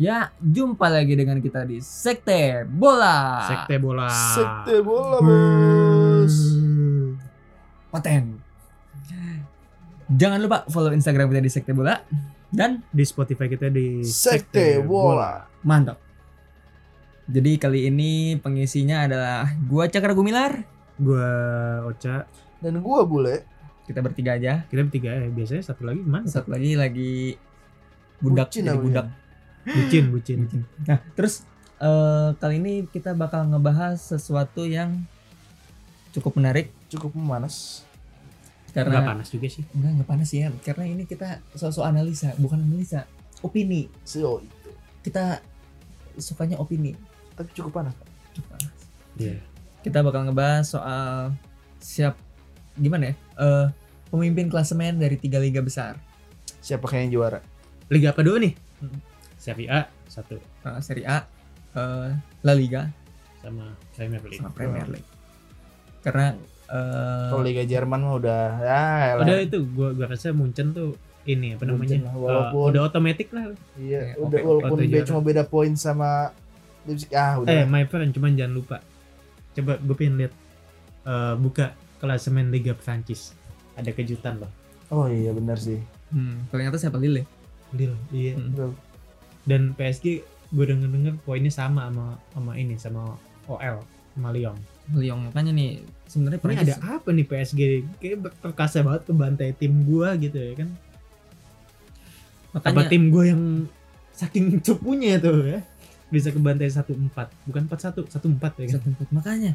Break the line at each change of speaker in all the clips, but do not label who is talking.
Ya, jumpa lagi dengan kita di Sekte Bola.
Sekte bola.
Sekte bola bos.
Hmm,
Paten. Jangan lupa follow Instagram kita di Sekte Bola dan
Di Spotify kita di
Sekte bola.
mantap. Jadi kali ini pengisinya adalah gua Cakra Gumilar.
Gua Ocha,
Dan gua bule.
Kita bertiga aja.
kita bertiga eh biasanya satu lagi gimana?
Satu lagi lagi budak
Bucin
jadi
namanya.
budak.
Bucin, bucin.
Bucin. Nah, terus eh, kali ini kita bakal ngebahas sesuatu yang cukup menarik
Cukup memanas.
Enggak
karena
panas juga sih.
enggak enggak panas ya, karena ini kita sosok analisa, bukan analisa, opini.
Sio itu.
Kita sukanya opini.
Tapi cukup panas.
Iya.
Kita bakal ngebahas soal siap gimana ya? eh, pemimpin klasemen dari tiga liga besar.
Siapa kayak yang
Eh.
juara?
Liga apa dulu nih?
Hmm.
Serie A satu
Eh, Serie A, eh, La Liga,
sama Premier League.
sama Premier League. Karena eh,
Kalau Liga Jerman mah udah ya elah.
Udah itu gua gua rasa Munchen tuh ini apa namanya?
Munchen lah,
Eh,
walaupun-
udah otomatis lah.
Iya,
Ya,
udah
oke,
walaupun
oke,
dia
juara.
cuma beda poin sama Leipzig
Eh,
ah udah.
my friend cuman jangan lupa. Coba gue pengen lihat eh, buka klasemen Liga Prancis. Ada kejutan loh.
Oh iya benar sih.
hmm, ternyata siapa Lille? ya?
Lille, iya.
Hmm.
Betul.
Dan PSG gue denger-denger poinnya sama sama sama ini sama OL sama Lyon.
Lyon makanya nih sebenarnya
Ini
Prancis-
ada apa nih PSG? Kayak perkasa banget tuh bantai tim gua gitu ya kan. Apa
makanya
tim gua yang saking cupunya tuh ya. Bisa ke bantai 1-4, bukan 4-1, 1-4 ya kan.
satu empat. makanya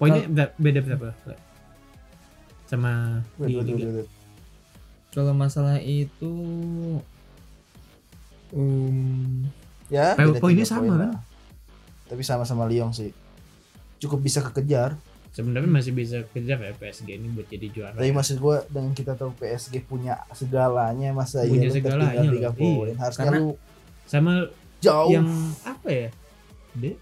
Poinnya ber- beda berapa? Sama
Betul,
di
betul,
Liga.
betul.
kalau masalah itu um,
Ya,
Poin-
beda
poinnya
tiga
sama
poin
kan?
lah. Tapi sama-sama Lyon sih. Cukup bisa kekejar.
Sebenarnya masih bisa kejar ya PSG ini buat jadi juara.
Tapi maksud gue dengan kita tahu PSG punya segalanya masa
Punya
iya lu
segalanya
tertinggal tiga
loh,
poin harusnya
Karena
lu
Sama
jauh
yang apa ya? Dia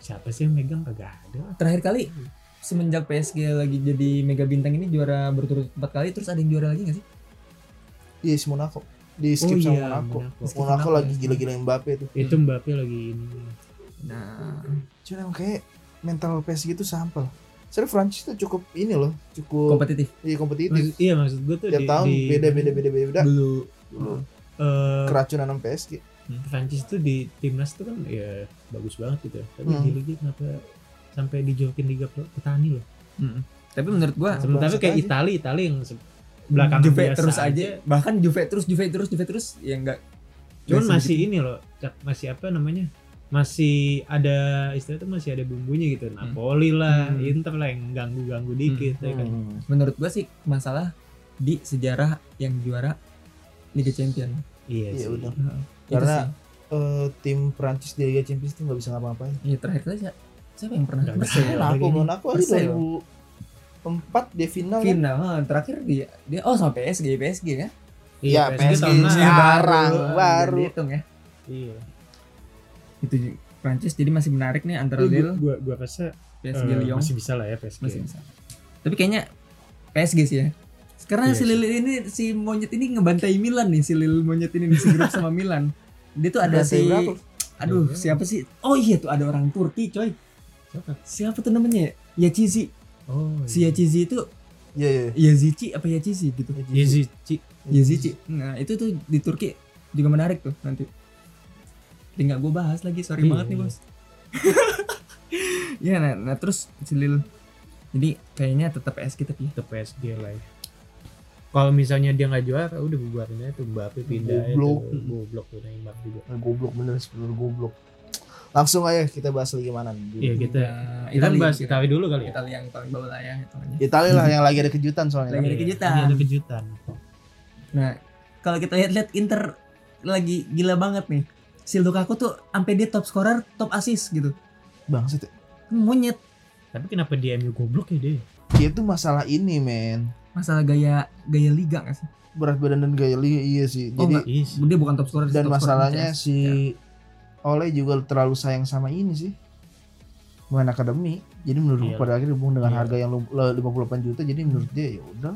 siapa sih yang megang kagak ada?
terakhir kali semenjak PSG lagi jadi mega bintang ini juara berturut empat kali terus ada yang juara lagi nggak sih
di Iya, Monaco di skip
Oh
sama Monaco.
iya, Monaco.
Skip
Monaco
Monaco
lagi
ya.
gila-gila Mbappe tuh.
Itu Mbappe lagi ini.
nah
Cuman emang kayak mental PSG itu sampel. Sebenarnya Prancis tuh cukup ini loh, cukup
kompetitif
iya, kompetitif.
Maksud- iya maksud gue tuh
Tiap tahun beda-beda beda-beda beda. Hmm.
dulu
eh,
Keracunan sama PSG.
Prancis tuh di timnas tuh kan ya bagus banget gitu. ya. Tapi
Hmm.
di Liga kenapa sampai dijauhin Liga Pro- petani loh.
Mm-mm. tapi menurut gua
Nah,
Sementara
bangsat
kayak
aja.
Italia, Italia yang se- belakangan
Juve
biasa
terus aja bahkan Juve terus Juve terus Juve terus ya enggak
Cuman masih ini loh, Cak, masih apa namanya? Masih ada istilahnya tuh masih ada bumbunya gitu. Napoli lah,
Hmm.
Inter lah yang ganggu-ganggu dikit ya kan.
Hmm.
menurut gua sih masalah di sejarah yang juara Liga Champion
Iya,
Iya,
sih.
benar.
Itu
Karena-
sih.
Eh, tim Prancis di Liga Champions tuh nggak bisa ngapa-ngapain.
Iya terakhir kali siapa, siapa yang pernah
Nggak
Persil.
bisa.
Monaco,
Iya, lagi ini.
Monaco aja
Persil.
2004 dia final kan.
Final ah, terakhir dia dia oh sama PSG PSG ya.
Iya,
Ya,
PSG tahun
PSG.
lalu.
Sekarang,
Ah, jangan
baru.
dihitung ya.
Iya.
Itu ju- Prancis jadi masih menarik nih antara
Tapi
Lille,
gua- Gua gua rasa
PSG
eh,
Lyon
masih bisa lah ya PSG.
masih bisa. Tapi kayaknya PSG sih ya. Karena
Iya
si
sih.
Lille ini si monyet ini ngebantai Milan nih si Lille monyet ini di si grup sama Milan. Dia tuh ada
Ngebantai
si
berapa?
Aduh,
Iya.
siapa sih? Oh iya tuh ada orang Turki, coy.
Siapa?
Siapa tuh namanya? ya? Yacizi.
Oh.
Si Yacizi itu
Iya, iya.
Yazici apa Yacizi gitu.
Iya sih, Ci.
Yazici. Nah, itu tuh di Turki juga menarik tuh nanti. Jadi nggak gue bahas lagi, sorry
Iya,
banget nih
iya.
bos. ya, nah, nah, terus si Lil. Jadi kayaknya tetap PSG tapi
ke PSG lah ya. Kalau misalnya dia nggak juara, udah bubarin aja tuh Mbappe pindah aja
Goblok.
tuh. Goblok tuh nembak juga.
Nah, goblok bener sebenernya goblok. Langsung aja kita bahas lagi mana
Iya
nih.
kita
Nah,
kita
Italia,
bahas Iya.
kita-
Italia dulu kali ya.
Italia yang paling bawah lah ya. hitungannya.
Italia lah yang lagi ada kejutan
Lagi
soalnya.
ada
Iya,
kejutan.
lagi Ada kejutan.
Nah, kalau kita lihat-lihat Inter lagi gila banget nih. Si Lukaku tuh sampai dia top scorer, top assist gitu.
Bangsat. ya.
Monyet
Tapi kenapa di MU goblok ya dia?
Dia tuh masalah ini, men.
masalah gaya gaya liga nggak sih?
Berat badan dan gaya li- iya sih.
Oh,
Jadi
Iya sih.
Dia bukan top scorer Iya.
dan
top scorer
masalahnya
Inter.
si
Iya.
Oleh juga terlalu sayang sama ini sih. Main akademi. Jadi menurut gua
Iya.
pada akhirnya dihubung dengan
Iya.
harga yang lu- le- 58 juta jadi menurut dia ya udah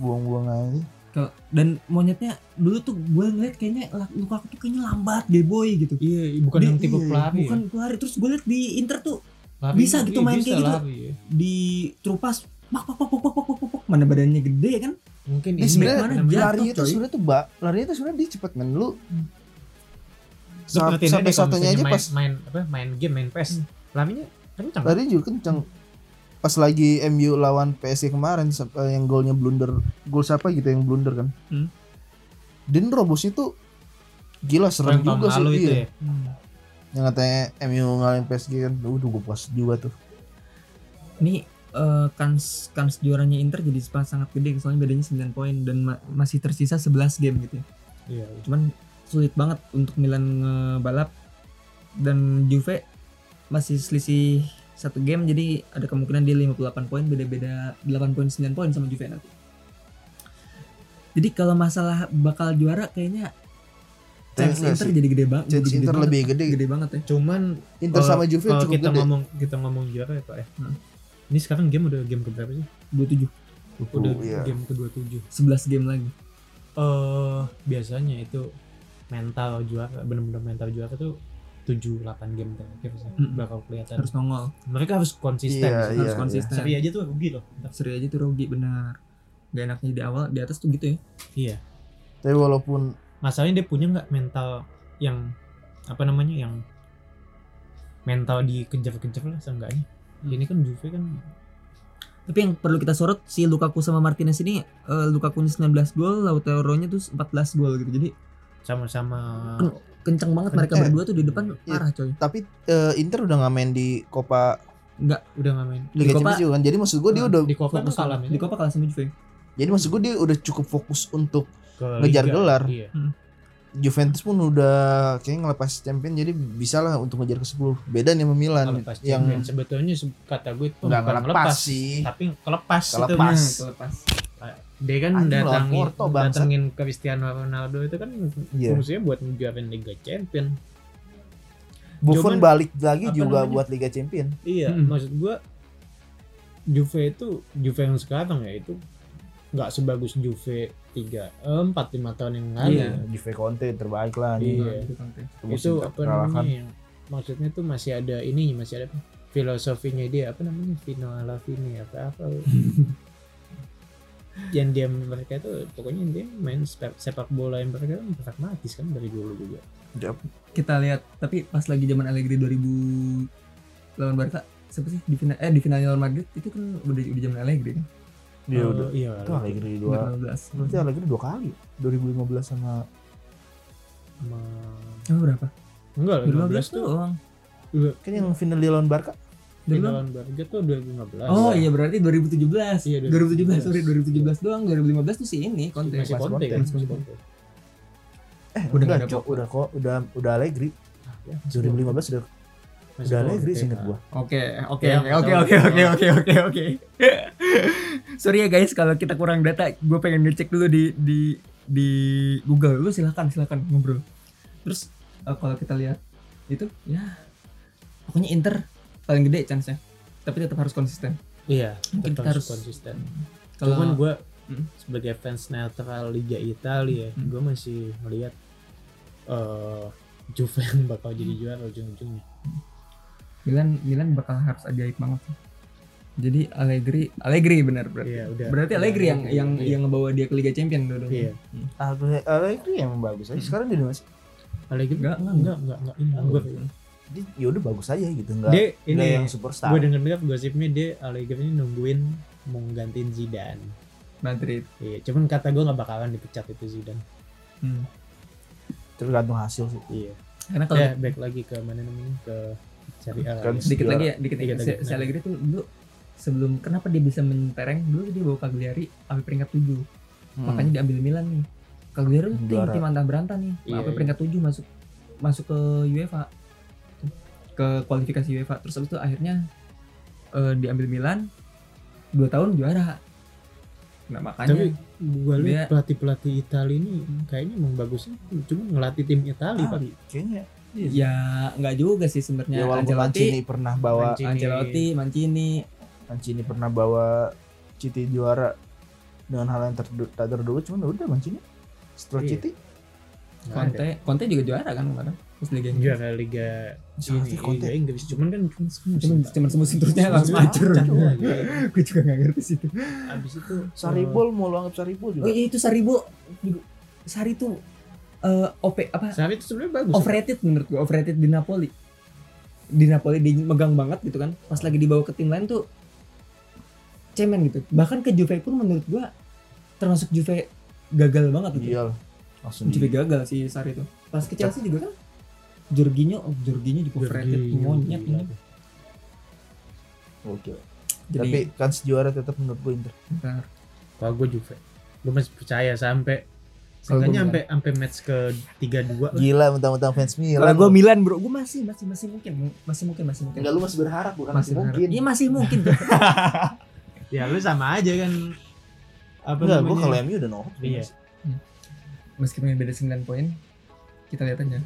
buang-buang aja.
Ke- dan monyetnya dulu tuh gue ngeliat kayaknya La- Lukaku tuh kayaknya lambat deh boy gitu
Iya, bukan
Dia-
yang tipe
iya,
pelari. ya.
bukan pelari terus gue liat di Inter tuh
Lari,
bisa gitu main kayak gitu.
lari ya.
di trupas pak pak pak pak pak pak pak, pak, pak. mana badannya gede kan
Mungkin
Dia
ini
sebenarnya
apa
mana
namanya?
Jatuh,
Lari itu
coy.
sebenarnya tuh mbak, lari itu sebenarnya dia cepet men lu.
Lu
Sa-
perhatiin aja deh
Sampai
kalau
satunya aja
misalnya
pas
main, main apa main game main PES.
Hmm.
Larinya kencang.
lari juga kenceng. Pas lagi MU lawan PSG kemarin sam- eh, yang golnya blunder, gol siapa gitu yang blunder kan?
Hmm.
Dan robosnya tuh gila serem
Yang tahun
juga sih iya.
lalu itu
dia.
ya.
Yang katanya MU ngalahin PSG kan. Udah gue puas juga tuh.
ini eh, kans kans juaranya Inter jadi sangat sangat gede soalnya bedanya 9 poin dan ma- masih tersisa 11 game gitu ya.
Iya.
cuman sulit banget untuk Milan ngebalap dan Juve masih selisih satu game jadi ada kemungkinan dia 58 poin beda-beda 8 poin 9 poin sama Juve nanti jadi kalau masalah bakal juara kayaknya chance
Enggak
Inter
sih.
jadi gede banget
Chance Inter lebih gede.
gede banget ya
Cuman
Inter
kalau-
sama Juve
kalau
cukup
kita
gede.
ngomong kita ngomong juara ya Pak ya.
Hmm.
Ini sekarang game udah game ke berapa sih?
27
Udah
Oh, iya.
game ke 27. Eh
11 game lagi
biasanya itu mental juara benar-benar mental juara tuh 7 8 game terakhir sih
Mm-mm.
bakal kelihatan.
harus nongol
Mereka harus konsisten.
Iya,
sih.
harus konsisten
Seri aja tuh rugi loh.
seri aja tuh rugi benar gak enaknya di awal di atas tuh gitu ya
Iya.
Tapi walaupun
masalahnya dia punya nggak mental yang apa namanya yang mental dikejar-kejar lah seenggaknya
Hmm.
ini kan Juve kan
Tapi yang perlu kita sorot si Lukaku sama Martinez ini eh, Lukaku ini 19 gol, Lautaro-nya tuh 14 gol gitu. Jadi
sama-sama
kenceng banget mereka ya?
Eh,
berdua tuh di depan
iya.
parah coy.
tapi eh, Inter udah nggak main di Copa
udah nggak main
Di Copa-
Liga Champions juga kan. Jadi maksud gue dia
Nah,
udah
di Copa kan
Fokus
kalah
kalah.
men.
Di Copa kalah sama Juve.
jadi maksud gue dia udah cukup fokus untuk
Ke
ngejar
Liga.
gelar.
iya.
Juventus pun udah kayaknya ngelepas champion jadi bisa lah untuk ngejar ke 10 beda nih sama Milan
Ngelepas
Kan yang
champion. sebetulnya se- kata gue itu
nggak
bukan
ngelepas sih
tapi kelepas, itu
Nah,
Kelepas.
Mas.
Kelepas.
dia kan
Anjing lawan
datangin
Porto, bangsat.
datangin Cristiano Ronaldo itu kan
Iya.
fungsinya buat ngejuarin Liga Champion Cuman,
Buffon balik lagi
apa
juga
namanya?
buat Liga Champion
Iya,
Mm.
maksud gua Juve itu Juve yang sekarang ya itu nggak sebagus Juve tiga eh, empat lima tahun yang lalu.
Iya.
ya.
Juve Conte terbaik lah
Iya.
gitu,
Itu
Musim
apa
terkalahkan.
namanya? yang- Maksudnya tuh masih ada ini masih ada filosofinya dia apa namanya Vino alla Fine apa apa. yang dia mereka itu pokoknya dia main sepak, sepak bola yang mereka kan pragmatis kan dari dulu juga.
Kita lihat tapi pas lagi zaman Allegri 2000 lawan Barca siapa sih di final eh di finalnya lawan Madrid itu kan udah udah zaman Allegri kan
dia
Eh,
udah
iya.
itu Allegri dua
2015.
berarti Allegri dua kali 2015 sama
Sama,
Oh, berapa?
enggak
2015
2015 tuh
doang.
kan yang final dia lawan Barca
2015.
Vino lawan Barca tuh 2015.
Oh iya berarti 2017.
Iya,
2017 sorry 2017 doang 2015 tuh si ini Conte
masih
Mas
konten,
Conte.
kan? Masih konten.
eh
Udah
udah
nggak
udah
ada
Cok.
Pogba.
udah kok udah udah Allegri 2015 udah
Iya. Masih
udah
konten.
Allegri seinget gua
Oke, oke,
Ya,
oke, oke,
sama-
oke, oke,
sama.
oke, oke, oke. Sorry ya guys, kalau kita kurang data, gue pengen ngecek dulu di di di Google. Lu silakan, silakan ngobrol. Terus eh, kalau kita lihat itu, ya pokoknya Inter paling gede chance-nya. Tapi tetap harus konsisten.
Iya,
Mungkin
tetap
kita harus-
konsisten.
Kalau
Cuman gue
Mm.
sebagai fans netral Liga Italia,
Mm.
gue masih melihat eh Juve yang bakal jadi juara ujung-ujungnya.
Milan Milan bakal harus ajaib banget. sih. Jadi Allegri, Allegri benar berarti.
Iya, udah.
Berarti Allegri yang yang
Iya.
yang ngebawa dia ke Liga Champion dulu.
Iya.
Allegri- Allegri emang bagus
Hmm.
aja sekarang dia masih
Allegri
Enggak,
enggak
enggak,
enggak enggak enggak, ini gua-
dia ya udah bagus aja gitu enggak
Dia ini
Nggak yang superstar
gue denger denger gosipnya dia Allegri ini nungguin mau gantiin Zidane.
Madrid.
Iya, cuman kata gue nggak bakalan dipecat itu Zidane.
Hmm.
tergantung hasil sih
Iya.
Karena kalau
Eh, back lagi ke mana namanya ke Serie A.
Kan
ya.
dikit
Juara.
lagi ya dikit,
Dikit
lagi
lagi,
Si- si
nah.
Allegri tuh dulu sebelum kenapa dia bisa mentereng dulu dia bawa Cagliari sampai peringkat 7
Hmm.
makanya diambil Milan nih Cagliari tuh tim,
Juara.
tim antah berantah nih
Iya,
sampai
iya.
peringkat 7 masuk masuk ke UEFA ke kualifikasi UEFA terus habis itu akhirnya eh, diambil Milan 2 tahun juara Nah,
Tapi
makanya
gua
Dia-
lihat pelatih-pelatih Itali ini kayaknya emang bagusnya cuma ngelatih tim Itali, Pak.
Itali, kayaknya
ya nggak juga sih sebenarnya
ya walaupun Mancini
Ancelotti,
pernah bawa
Mancini.
Ancelotti, Mancini,
Mancini pernah bawa Citi juara dengan hal yang terdu- tak terduga cuman ya udah Mancini setelah
Iya.
Citi
Nggak ada.
Conte, Conte juga juara kan kemarin pas Liga Inggris.
Nah, Juara Liga
Ancelotti,
ini, iya.
Conte.
Liga Inggris cuman kan cuma
Cuman,
semusim, Pak.
cuman semusim terusnya langsung
Semusim
hancur.
pecah, iya.
Gue juga nggak ngerti situ.
Abis itu eh, Iya.
Saribol mau lu anggap Saribol
Oh
juga
iya itu Sari bu, Sari tuh eh OP apa?
Sarri itu sebenarnya bagus.
Overrated menurut gue, overrated di Napoli. Di Napoli dia megang banget gitu kan. Pas lagi dibawa ke tim lain tuh cemen gitu. Bahkan ke Juve pun menurut gua termasuk Juve gagal banget gitu.
iya lah. langsung
Juve
di
gagal si Sari itu. Pas ke Chelsea juga kan Jorginho, oh, Jorginho juga overrated
Jorginho,
monyet
gila.
ini.
Oke.
Jadi,
tapi kan juara tetap menurut gue Inter
bentar.
Kalau gue Juve, gue masih percaya sampai
Kalau gua
Seenggaknya
Milan.
sampai sampai match ke 3-2 lah.
gila mentang-mentang fans
Kalau
Milan
gue Milan bro, gue masih masih masih mungkin, masih mungkin, masih mungkin.
enggak lu masih berharap bukan
masih
masih mungkin
Iya masih mungkin. tuh.
Ya lu sama aja kan. Apa
enggak gue
namanya?
kalau MU udah nohok
Iya.
Meskipun beda 9 poin, kita lihat aja.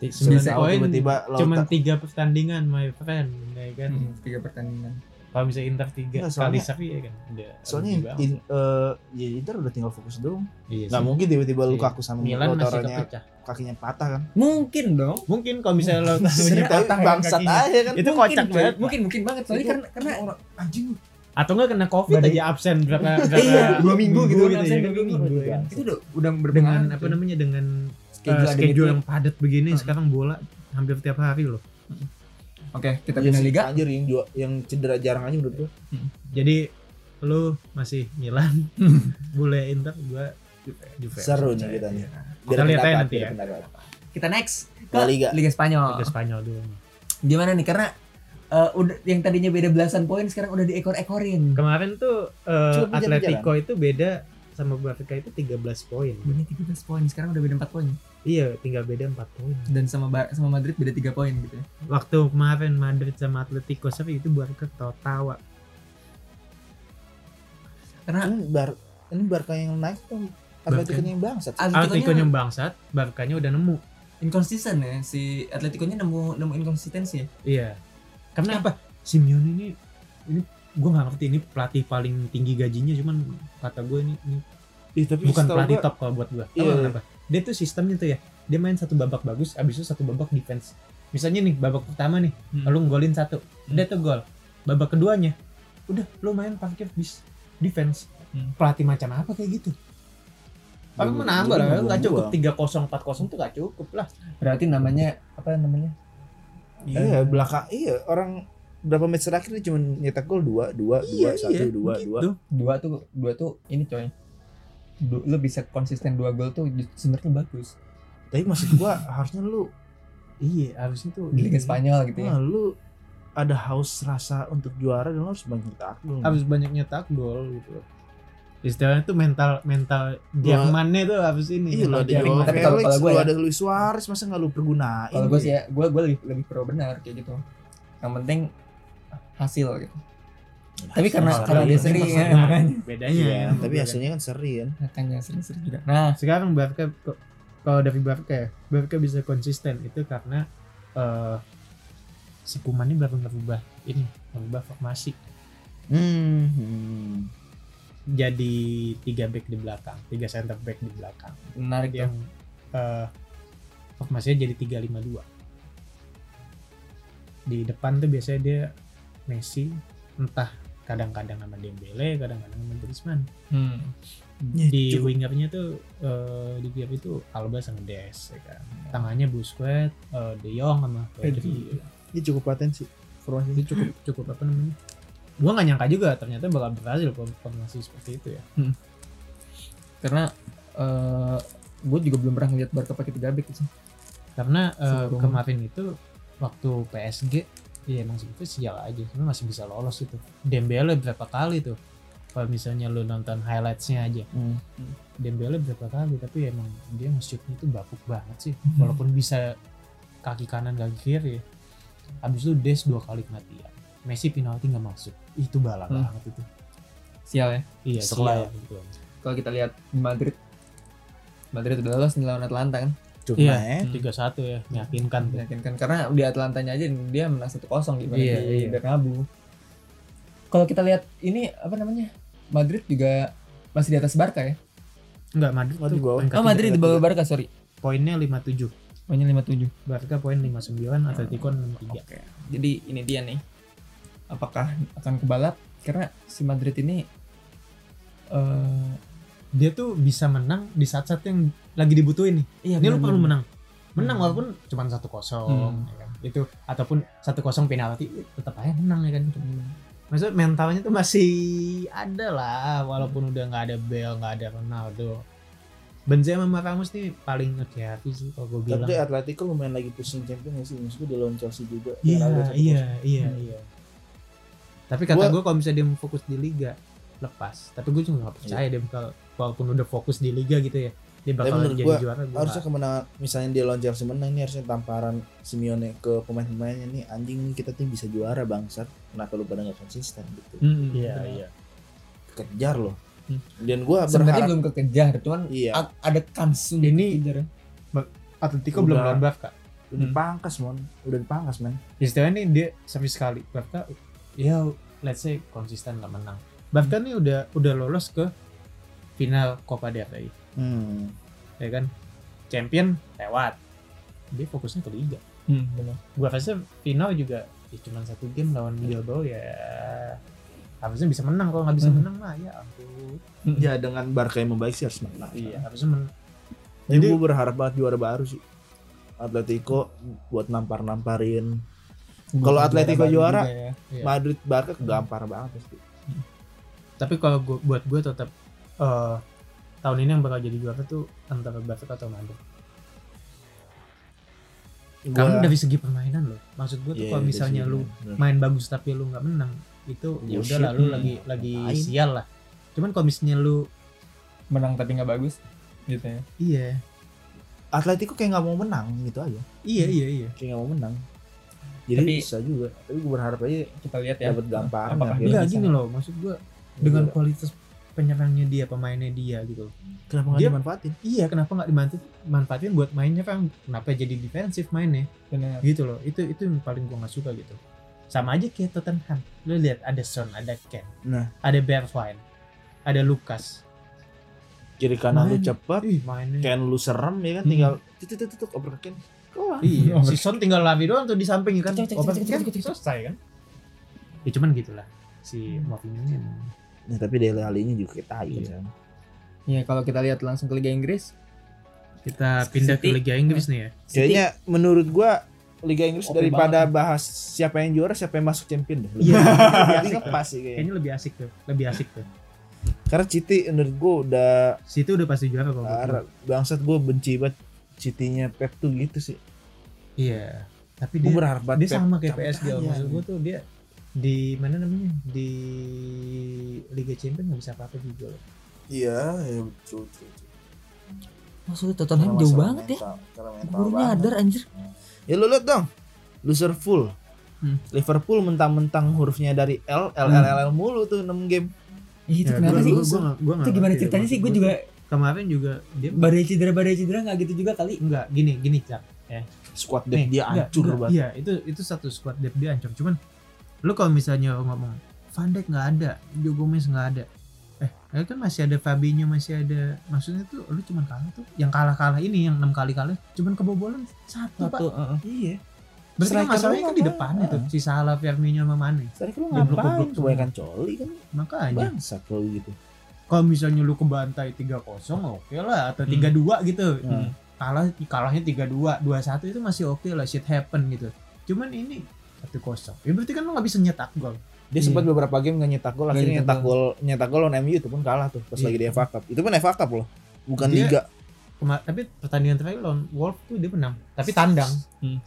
Sembilan
Bisa,
poin
tiba-tiba
cuman
Lautaro-
tiga pertandingan my friend ya kan.
Hmm, tiga pertandingan.
Kalau misalnya Inter tiga
Iya,
Nggak,
kali
soalnya-
seri ya kan. Udah
soalnya
rugi banget.
in, eh, ya Inter udah tinggal fokus doang
Iya
nggak
sih.
mungkin tiba-tiba
Iya.
Lukaku sama
Milan masih
Lautaro-nya
kepecah.
kakinya patah kan
Mungkin dong.
Mungkin kalau misalnya lo
Sebenarnya
tapi
patah ya
bangsat
kakinya.
aja kan
itu
mungkin,
kocak
coy.
banget.
Mungkin mungkin banget soalnya
Itu-
karena karena
orang anjing
Atau enggak kena covid
Badai.
aja absen berapa berapa
Iya, dua minggu gitu,
ya
absen
kan.
dua minggu.
Dua kan.
itu udah udah
Dengan
berpengaruh,
apa
coy.
namanya dengan eh,
schedule, ada
schedule
meeting.
yang padat begini
Hmm.
sekarang bola hampir tiap hari loh.
Oke, kita
Iya
pindah
sih,
liga.
anjir yang jua- yang cedera jarang aja menurut gue
Jadi lu masih Milan, boleh Inter, gua Juve.
seru nih kita nih
Kita lihat aja
pendapat,
nanti
biar
ya.
pendapat.
Kita next ke
La Liga
Liga Spanyol.
Ke Spanyol dulu.
Gimana nih? Karena eh, udah yang tadinya beda belasan poin sekarang udah diekor-ekorin.
Kemarin tuh eh,
Cukup menjadi
Atletico itu beda sama Benfica itu 13 poin.
Ini 13 poin, sekarang udah beda 4 poin
Iya, tinggal beda 4 poin.
dan sama Bar- sama Madrid beda 3 poin gitu ya.
Waktu kemarin Madrid sama Atletico seri itu buat ketawa-tawa.
Kan
Karena
ini bar ini Barca yang naik tuh Atletico yang bangsat
Ah, Atletico
Atletico-nya
yang bangsat, Barkanya udah nemu.
inconsistent ya si Atletico-nya nemu nemu inkonsistensi ya.
Iya. Karena apa? Simeone ini ini gua nggak ngerti ini pelatih paling tinggi gajinya cuman kata gue ini, ini
Ih, tapi
bukan
setahu
pelatih
gua-
top kalau buat gua. Tahu
Iya,
nggak
iya.
kenapa? Dia tuh sistemnya tuh ya. Dia main satu babak bagus, abis itu satu babak defense. Misalnya nih babak pertama nih,
Hmm.
lu nggolin satu, udah tuh gol. Babak keduanya, udah lu main parkir bis defense.
Hmm.
Pelatih macam apa kayak gitu? Tapi
Gua-
menambah
gua-
lah,
gua-
nggak cukup
gua.
tiga kosong empat kosong tuh nggak cukup lah.
Berarti namanya apa namanya?
iya belakang iya orang berapa match terakhir dia cuma nyetak gol dua dua dua satu dua dua
Iya, gitu.
dua tuh dua tuh ini coy Du- lo bisa konsisten dua gol tuh ju- sebenarnya bagus
tapi maksud gua harusnya lu
Iya, harusnya tuh
di Liga Spanyol gitu ya
nah, lu ada haus rasa untuk juara dan lu harus banyak nyetak gol
harus banyak nyetak gol gitu loh. Istilahnya tuh mental mental Jermannya tuh harus ini.
Iya lo
mental
ada
Tapi
Joao
Jerman.
kalau-
Felix,
kalau gua
lu
ya-
ada Luis Suarez masa nggak lu pergunain?
kalau gue sih ya gue gue lebih lebih pro benar kayak gitu yang penting hasil gitu tapi karena
Hasil.
karena dia
Hasil.
seri ya
Nah,
makanya
bedanya.
Iya,
ya.
tapi hasilnya kan seri kan.
makanya seri-seri juga nah
sekarang Barca kalau dari Barca ya, Barca bisa konsisten itu karena eh si Kuman ini baru berubah ini berubah formasi
Hmm.
jadi tiga back di belakang, tiga center back di belakang.
menarik ya
Yang eh formasinya jadi tiga lima dua. Di depan tuh biasanya dia Messi, entah kadang-kadang sama Dembele, kadang-kadang sama Griezmann.
hmm.
Iya,
di wingernya tuh eh, di tiap itu Alba sama Des ya kan. Tangannya Busquets, eh, De Jong sama Pedri.
Ini iya, cukup paten
Itu
sih formasi.
cukup cukup apa namanya? Gua nggak nyangka juga ternyata bakal berhasil form- formasi seperti itu ya.
karena gue juga belum pernah ngeliat Barca pakai tiga back gitu. sih
Karena eh,
Sebelum.
kemarin itu waktu PSG ya emang sebetulnya sial aja, cuma masih bisa lolos itu. Dembele berapa kali tuh? Kalau misalnya lu nonton highlightsnya aja,
Hmm.
Dembele berapa kali tapi emang dia nge-shootnya tuh bapuk banget sih walaupun bisa kaki kanan kaki kiri habis itu Des dua kali kematian Messi penalti nggak masuk itu bala
Hmm.
banget itu
sial ya
Iya,
Setelah
sial, betul.
kalau kita lihat di Madrid Madrid udah lolos lawan Atlanta kan
Cuma
Iya,
ya,
tiga satu ya, meyakinkan. tuh.
meyakinkan karena di Atlantanya aja dia menang 1-0 gimana
Iya,
di
iya.
Bernabeu kalau kita lihat ini apa namanya Madrid juga masih di atas Barca ya
Enggak, Madrid
Oh, di
tuh
bawah.
peringkat
oh Madrid
tiga.
di bawah Barca sorry
Poinnya 57.
poinnya 57
Barca poin 59,
Hmm.
Atletico 63.
Iya. Oke. Jadi ini dia nih. Apakah akan kebalap? Karena si Madrid ini eh
Dia tuh bisa menang di saat-saat yang lagi dibutuhin nih.
iya
Ini lu perlu
benar-benar.
menang. Menang
Hmm.
walaupun cuma 1-0
Hmm.
ya kan? Itu ataupun 1-0 penalti tetap aja menang ya kan. Maksudnya mentalnya tuh masih ada lah walaupun udah nggak ada Bale, nggak ada Ronaldo. Benzema sama Ramos nih paling ngehati sih kalau gue bilang.
tapi eh, Atletico lumayan lagi pusing champion ya sih maksudku di lawan Chelsea juga Hmm.
Iya,
Dia lawan 1-0.
iya, iya, iya. Tapi kata gue
Gua-
kalau misalnya dia mau fokus di liga lepas, tapi gue juga gak percaya dia bakal walaupun udah fokus di liga gitu ya, dia bakal
menurut
jadi
gua,
juara. Gua
harusnya kemenangan misalnya dia lawan Chelsea menang ini harusnya tamparan Simeone ke pemain-pemainnya nih anjing nih kita tim bisa juara bangsat kenapa lu pada nggak konsisten gitu kan.
Mm-mm,
iya,
benar.
iya.
kejar loh
Hmm.
dan gua
Sebenarnya Ah,
berharap
belum kekejar, cuman
iya
a- ada kans untuk
Ini-
kekejar ya.
Atletico
Udah.
belum lawan Barca.
udah dipangkas mon udah dipangkas men
Istilahnya nih dia sama sekali Barca ya let's say konsisten lah menang. Barca nih udah udah lolos ke final Copa del Rey,
hmm.
ya kan? Champion lewat. Dia fokusnya ke liga.
Hmm, benar.
gua rasa final juga ya cuma satu game lawan Bilbao ya harusnya bisa menang kalau nggak bisa
Hmm.
menang mah ya ampun
ya dengan Barca yang membaik sih harus menang
harusnya men-
Jadi
Jadi-
gue berharap banget juara baru sih. Atletico buat nampar-namparin. Kalau Atletico
baru
juara,
juga ya.
Iya.
Madrid Barca kegampar banget pasti.
tapi kalau gua, buat gue tetap eh, tahun ini yang bakal jadi juara tuh antara Barca atau Madrid karena dari segi permainan loh maksud
Iya,
gue tuh kalau misalnya lu main bagus tapi lu nggak menang itu ya udah
Bullshit.
lah lu
Hmm.
lagi lagi
Ngapain?
sial lah cuman kalau misalnya lu
menang tapi nggak bagus gitu ya.
iya
Atletico kayak nggak mau menang gitu aja.
iya iya iya
Kayak nggak mau menang. Jadi
Tapi-
bisa juga. Tapi gue berharap aja
Kita lihat ya.
Dapat gamparan
Apakah
akhirnya.
dia
Enggak
bisa?
gini loh maksud gue dengan kualitas penyerangnya dia pemainnya dia gitu loh.
kenapa nggak
dia-
dimanfaatin?
iya kenapa nggak dimanfaatin manfaatin buat mainnya kan kenapa jadi defensif mainnya
Benar.
gitu loh itu itu yang paling gua nggak suka gitu sama aja kayak Tottenham lu lihat ada Son ada Ken
Nah.
ada Bergwijn ada Lucas
Kiri kanan
Main.
lu
Iya.
cepet,
ih mainnya
Ken lu serem ya kan
Hmm.
tinggal titik titik titik over ke Ken. Kelar.
iya
Over.
si Son tinggal lari doang tuh di samping kan
Cek, cek, cek,
Open
cek,
kan
cek, cek, cek.
selesai kan ya cuman gitulah si Mourinho ini emang
Nah, tapi Dele Alli ini juga kan. kita aja.
Iya.
Ya kalau kita lihat langsung ke Liga Inggris,
kita pindah ke
City.
Liga Inggris nih ya
City-
Kayaknya menurut gua Liga Inggris
Oke
daripada bahas siapa yang juara, siapa yang masuk champion deh.
Iya.
Lebih ngepas sih kayaknya.
kayaknya lebih asik tuh lebih asik tuh
Karena City menurut gue udah
situ udah pasti juara kalau menurut gua.
arah- bangsat gue benci banget City-nya Pep tuh gitu sih.
Iya. Tapi
Gue
dia,
berharap
dia
banget Pep
sama kayak
cabut
PSG
Iya.
aja.
maksud gue tuh dia di mana namanya di Liga Champions nggak bisa apa-apa juga loh.
Iya, ya betul. betul, betul.
maksudnya
Karena
Tottenham Oh, jauh
masalah
banget ya.
mental, karena mental
Burunya
banget.
adar anjir.
Ya lu lihat dong. Loser full.
Hmm.
Liverpool mentang-mentang hurufnya dari L, L, L, L, L mulu tuh 6 game.
Ih, itu Iya,
Ya,
Iya,
kenapa sih?
Gue gue
Itu
ya,
gimana ceritanya sih? Gue juga
kemarin juga dia
badai cedera badai cedera nggak gitu juga kali.
enggak gini gini cak.
Squad depth
Nih,
dia
enggak,
hancur
enggak.
banget.
Iya itu itu satu squad depth dia hancur. Cuman lu kalau misalnya ngomong Van Dijk nggak ada, Joe Gomez nggak ada. Eh, lu kan masih ada Fabinho, masih ada maksudnya tuh lu cuman kalah tuh yang kalah-kalah ini yang enam kali kalah cuman kebobolan satu, Pak.
Satu, eh, heeh.
Iya.
Berarti kan
Striker
masalahnya
lu
kan di
ngapain?
depan itu si Salah, Firmino sama Mane.
Tadi kan lu
Dia blok-blok
ngapain?
semua.
Kebanyakan coli kan.
Makanya
Bangsat kalau gitu.
kalau misalnya lu kebantai 3-0 oke lah atau
Hmm.
3-2 gitu.
Hmm.
Kalah kalahnya 3-2, 2-1 itu masih oke lah shit happen gitu. Cuman ini 1-0. Ya berarti kan lu nggak bisa nyetak gol.
Dia sempat beberapa game gak nyetak gol,
Nggak nyetak
akhirnya Iya. nyetak gol, nyetak gol lawan MU itu pun kalah tuh pas
Iya.
lagi di FA Cup. Itu pun FA Cup loh, bukan
Dia-
liga.
Kema- tapi pertandingan terakhir lawan Wolf tuh dia menang, tapi tandang.
Hmm.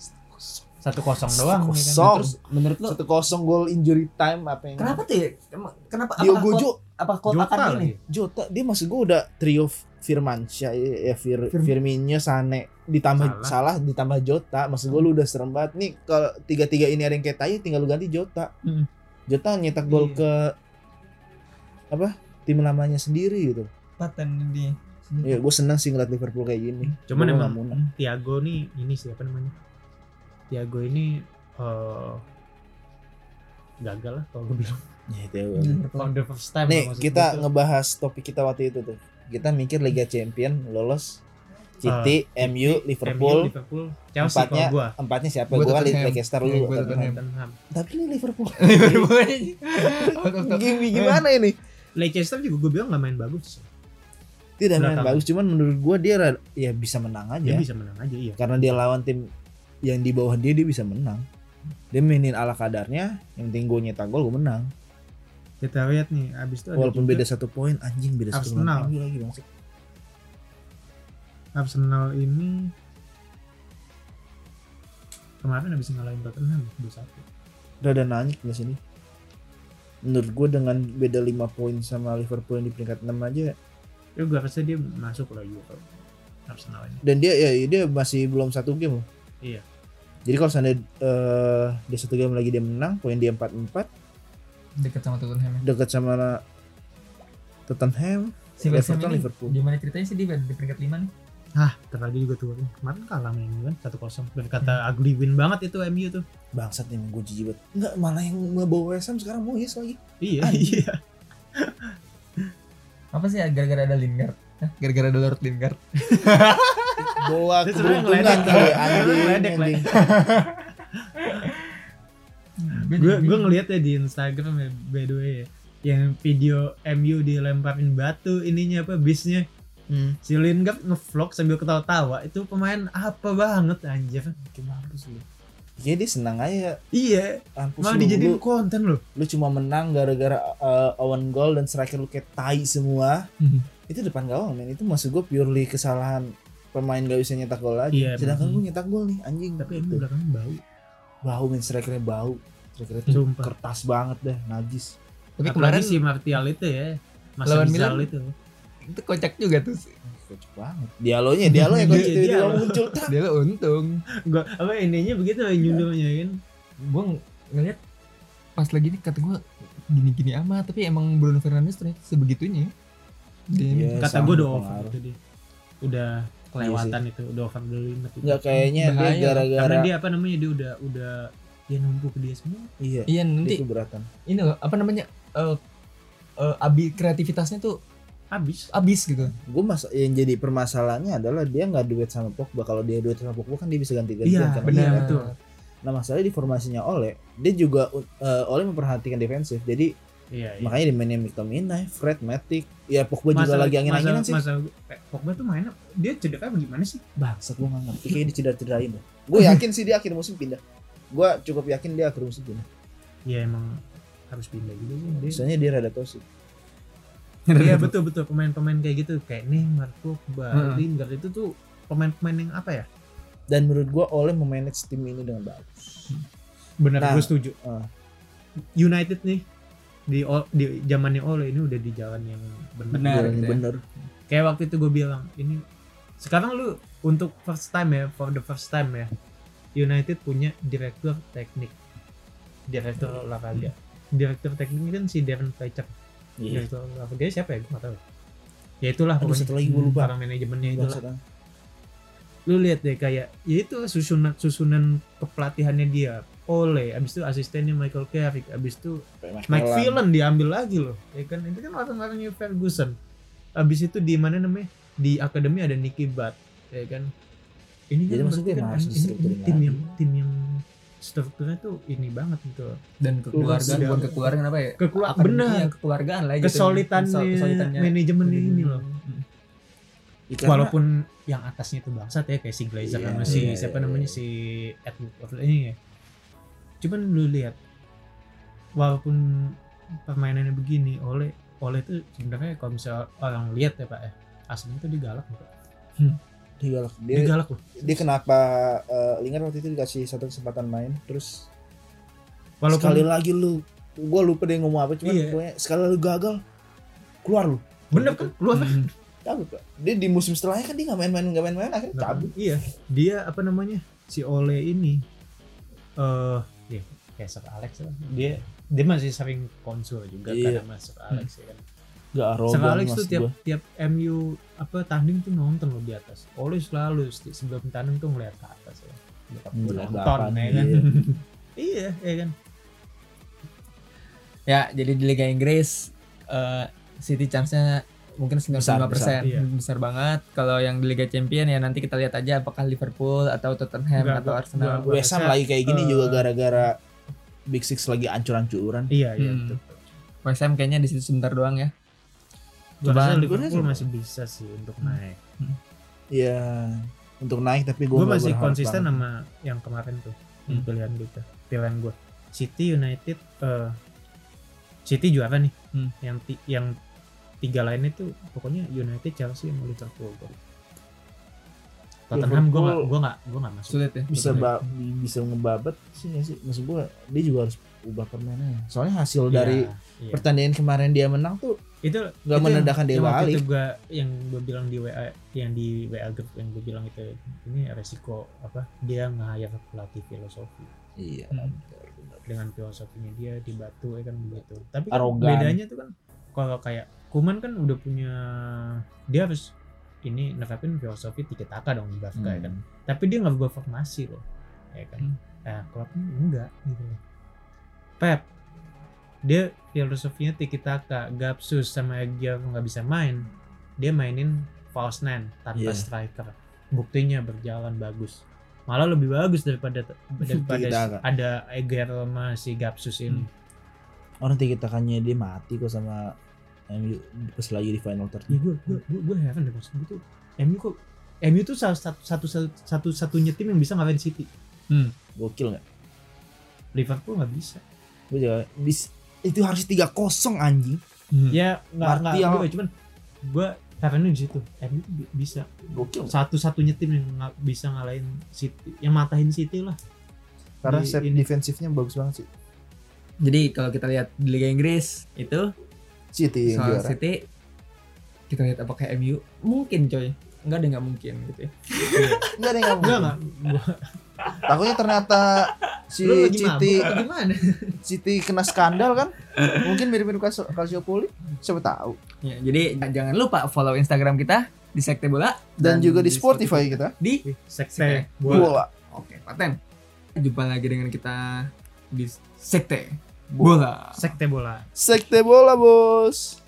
1-0 doang ya kan.
Kosong.
Terus menurut lo
iya Satu kosong gol injury time apa yang?
kenapa tuh? ya? Emang- Kenapa?
Diogo
apakah
Jo,
Klopp- apa klub
Jota
akan ini?
lagi.
Jota, dia maksud gue udah trio Firmansyah, ya, ya Fir,
Firm-
Firmino, Sane, ditambah salah. ditambah Jota. Maksud gue lu udah serem banget nih kalau tiga-tiga ini ada yang kayak tai, tinggal lu ganti Jota.
Mm.
Jota nyetak gol
Iya.
ke apa tim lamanya sendiri gitu
paten dia
ya gue senang sih ngeliat Liverpool kayak gini
Hmm. Cuman
Gua
emang
nggak munaf.
Tiago nih ini sih apa namanya? Tiago ini eh gagal lah kalau gue bilang.
ya, itu
Hmm.
ya.
On the first time lah
nih
maksud
kita
gua tuh.
ngebahas topik kita waktu itu tuh kita mikir Liga Champion lolos City, MU,
MU,
Liverpool,
Liverpool, Chelsea
Empatnya-
kalau gua.
empatnya siapa?
Gua
Gue
Tottenham.
Leicester
Iya,
dulu.
gua
Tottenham.
Tottenham.
Tottenham.
Tapi ini Liverpool.
Out of the-
Gim- Gimana ini?
Leicester juga gue bilang nggak main bagus.
Tidak main
Belakang.
bagus, cuman menurut gue dia rada- ya bisa menang
Dia
aja.
bisa menang aja iya.
Karena dia lawan tim yang di bawah dia dia bisa menang. Dia mainin ala kadarnya, yang penting gue nyetak gol gue menang.
Kita lihat nih abis itu ada
Walaupun
juga
beda satu poin, anjing beda satu poin
Arsenal.
lagi bang.
Arsenal ini kemarin habis ngalahin Tottenham 2-1.
Rada nanyik di sini. Menurut gue dengan beda 5 poin sama Liverpool yang di peringkat 6 aja
Ya gue rasa dia masuk lah juga Arsenal ini.
dan dia ya dia masih belum satu game loh.
Iya.
Jadi kalau seandainya eh, dia satu game lagi dia menang, poin dia 4-4,
dekat sama Tottenham ya.
dekat sama Tottenham,
si West Ham
Everton,
ini
Liverpool.
gimana ceritanya sih dia di peringkat 5 nih
Hah, terlalu juga tuh kemarin kalah main kan 1-0. Dan kata
Hmm.
ugly win banget itu MU tuh.
bangsat nih gue jijik banget. Enggak, malah yang ngebawa West Ham sekarang Moyes lagi.
Iya, iya.
apa sih gara-gara ada Lingard Hah? gara-gara ada Lord Lingard
Bawa
Dia sebenarnya
keberuntungan
ngeledek,
kali
Bang.
anjing.
Ngeledek,
anjing.
Hmm,
gue gue ngeliat ya di Instagram ya by the way ya yang video MU dilemparin batu ininya apa bisnya
Hmm.
si Lingard ngevlog sambil ketawa-tawa itu pemain apa banget anjir
Kayaknya dia senang aja.
iya
Ampus
mau
lu,
dijadiin
lu,
konten loh
lu cuma menang gara-gara eh, Owen Goal dan striker lu kayak tai semua.
Hmm.
Itu depan gawang men. Itu maksud gue purely kesalahan pemain gak bisa nyetak gol aja.
Iya,
Sedangkan
bener.
lu nyetak gol nih anjing.
tapi
Gitu.
MU belakangnya bau
bau men strikernya bau strikernya tuh
sumpah
kertas banget dah najis
tapi
apalagi
kemarin
si Martial itu ya Mas
Lawan
Rizal
Milan.
itu
itu kocak juga tuh
kocak banget dialognya dialognya
Iya,
kocak itu itu
dialog.
muncul tak
dia lo untung
gua apa ininya begitu
Iya.
nyundulnya kan
gue
Eh,
ngeliat pas lagi ini kata gue gini-gini amat tapi emang Bruno Fernandes ternyata sebegitunya ya. Dia
Iya,
kata
sama
gue udah over
pengaruh.
itu dia udah kelewatan itu udah over dulu itu
nggak kayaknya dia
Bahaya.
gara-gara
karena dia apa namanya dia udah udah dia numpuk ke dia semua
iya
iya
dia
nanti
keberatan
ini loh apa namanya eh eh, abi kreativitasnya tuh
habis
abis gitu
gue mas yang jadi permasalahannya adalah dia nggak duet sama Pogba kalau dia duet sama Pogba kan dia bisa ganti-gantian
Iya,
kan
benar.
Iya. nah masalahnya di formasinya Ole dia juga eh, Ole memperhatikan defensif jadi
iya, iya.
makanya dimainin McTominay Fred Matic ya Pogba juga lagi angin-anginan sih
Masa, eh, Pogba tuh mainnya dia cedera apa gimana sih?
Bangsat gue gak ngerti Kayaknya dicedera-cederain dah Gue yakin sih dia akhir musim pindah Gue cukup yakin dia akhir musim pindah
Ya
Iya,
emang harus pindah gitu sih. Dia-
Misalnya dia rada toxic
Iya
gitu.
betul betul pemain-pemain kayak gitu kayak Neymar, Pogba,
Heeh.
Lingard itu tuh pemain-pemain yang apa ya?
Dan menurut gue Oleh memanage tim ini dengan baik
Benar,
Nah,
gue setuju.
eh.
United nih di o- di zamannya Ole ini udah di jalan yang benar.
Benar,
Jalannya
gitu ya.
bener
Kayak waktu itu gue bilang ini sekarang lu untuk first time ya for the first time ya United punya direktur teknik, direktur olahraga, direktur teknik kan si Darren Fletcher.
Hmm. Iya
Direktur olahraga siapa ya? Gue gak tau. Ya itulah
Aduh satu lagi gue lupa
Orang manajemennya itu
Bangsat, ah.
Lu lihat deh kayak ya itu susunan susunan kepelatihannya dia. Ole, abis itu asistennya Michael Carrick, abis itu Mike
Kayak Magellan.
Phelan diambil lagi loh. Ya kan itu kan orang-orangnya Ferguson. Abis itu di mana namanya? Di akademi ada Nicky Butt, ya kan. Ini
Jadi
kan
maksud
berarti
gue
kan
harus
ini- ini
distrukturin
tim
lagi.
yang tim yang strukturnya tuh ini banget gitu.
dan kekeluargaan
Udah.
bukan kekeluargaan apa ya
Kekeluargaan
Akademi
benar.
yang kekeluargaan lah gitu Hmm.
Kesolidannya,
Kesol- kesolidannya
manajemennya ini loh.
Ya, karena
Walaupun yang atasnya itu bangsat ya kayak si Glazer
Iya,
sama si
iya,
siapa
iya,
namanya
iya.
si Edward Ward ini ya. Cuman lu lihat walaupun permainannya begini oleh oleh itu sebenarnya kalau misal orang lihat ya Pak ya aslinya tuh digalak loh. Pak.
dia, galak. Iya dia,
Digalak loh.
dia kenapa eh, Lingard waktu itu dikasih satu kesempatan main Terus
Walaupun
sekali lagi lu Gue lupa dia ngomong apa Cuman
Iya.
pokoknya sekali lu gagal Keluar lu
bener kan
gitu,
keluar
Hmm.
Cabut Pak. Dia di musim setelahnya kan dia gak main-main Gak main-main akhirnya
Nah,
cabut
Iya, dia apa namanya? Si Ole ini eh ya kayak Sir Alex lah. Dia dia masih sering konsul juga karena
Iya.
Mas Sir Alex ya kan.
Gak arogan
Sekali
mas
itu
gua.
tiap tiap MU apa tanding tuh nonton lo di atas. Always selalu seti- sebelum tanding tuh ngeliat ke atas ya. Nyokap gua
Ngeliat ke
Nonton
apaan,
ya kan.
iya.
Iya, ya kan.
Ya, jadi di Liga Inggris eh, City chance-nya mungkin 95%
Besar,
Hmm, besar,
besar,
iya.
banget. Kalau yang di Liga Champion ya nanti kita lihat aja apakah Liverpool atau Tottenham
Enggak,
atau
gua-
Arsenal.
gua-
West Ham lagi kayak gini
Eh,
juga gara-gara Big Six lagi ancur-ancuran.
Iya, iya.
Hmm.
betul.
West Ham kayaknya di situ sebentar doang ya.
Gua
Coba-
rasa
gua
Liverpool
rasa-
masih bisa sih untuk naik.
Iya. Untuk naik tapi gue
Gue masih konsisten sama yang kemarin tuh
Hmm.
pilihan kita, pilihan gue. City United, eh City juara nih.
Hmm.
Yang ti- yang tiga lainnya tuh pokoknya United, Chelsea, sama Liverpool. gua. Tottenham gue gak, gue gak, gue gak masuk.
Sulit ya.
bisa ba- bisa ngebabat sih nggak sih maksud gue dia juga harus ubah permainannya soalnya hasil
Iya,
dari
iya.
pertandingan kemarin dia menang tuh
itu
nggak
itu
menandakan dia
yang waktu
balik
itu gua yang gue bilang di WA yang di WA group yang gue bilang itu ini resiko apa dia ngehayat pelatih filosofi
iya
Hmm.
benar, benar.
dengan filosofinya dia di batu ya kan begitu tapi kan
Arogan.
bedanya tuh kan kalau kayak Kuman kan udah punya dia harus ini nerapin filosofi tiki taka dong di Bafka ya kan
Hmm.
tapi dia nggak berubah formasi loh ya kan
Hmm.
nah Klopp ini enggak gitu loh Pep dia filosofinya tiki taka Gapsus sama dia nggak bisa main dia mainin false nine tanpa
Iya.
striker buktinya berjalan bagus malah lebih bagus daripada daripada
Tiki taka.
ada Eger sama si Gapsus ini
orang tiga takannya dia mati kok sama MU pas lagi di final
ya
third
gue gue gue gue heran deh maksud gue tuh MU kok MU tuh salah satu satu satu, satu satunya tim yang bisa ngalahin City
gokil nggak
Liverpool nggak bisa
gue juga bis itu harus tiga kosong anjing
Hmm.
ya nggak nggak
Martial.
gue cuman gue herannya di situ MU tuh bi- bisa
gokil nggak?
satu satunya tim yang nggak bisa ngalahin City yang matahin City lah
karena
Di-
set
ini.
defensifnya bagus banget sih
Jadi kalau kita lihat di Liga Inggris itu
City yang
soal
juara
City kita lihat apakah MU mungkin coy. Enggak ada nggak mungkin gitu ya.
enggak ada yang
nggak
ngomong
nggak Gua-
takutnya ternyata si
lu lagi
City
mabuk apa gimana
City kena skandal kan mungkin mirip-mirip Kas- Calciopoli siapa tahu
Ya, jadi jangan lupa follow Instagram kita di Sekte Bola
dan, juga di Spotify kita
Di
Ih, sekte bola
bola
Oke, paten. Jumpa lagi dengan kita di Sekte Bola.
sekte bola
sekte bola bos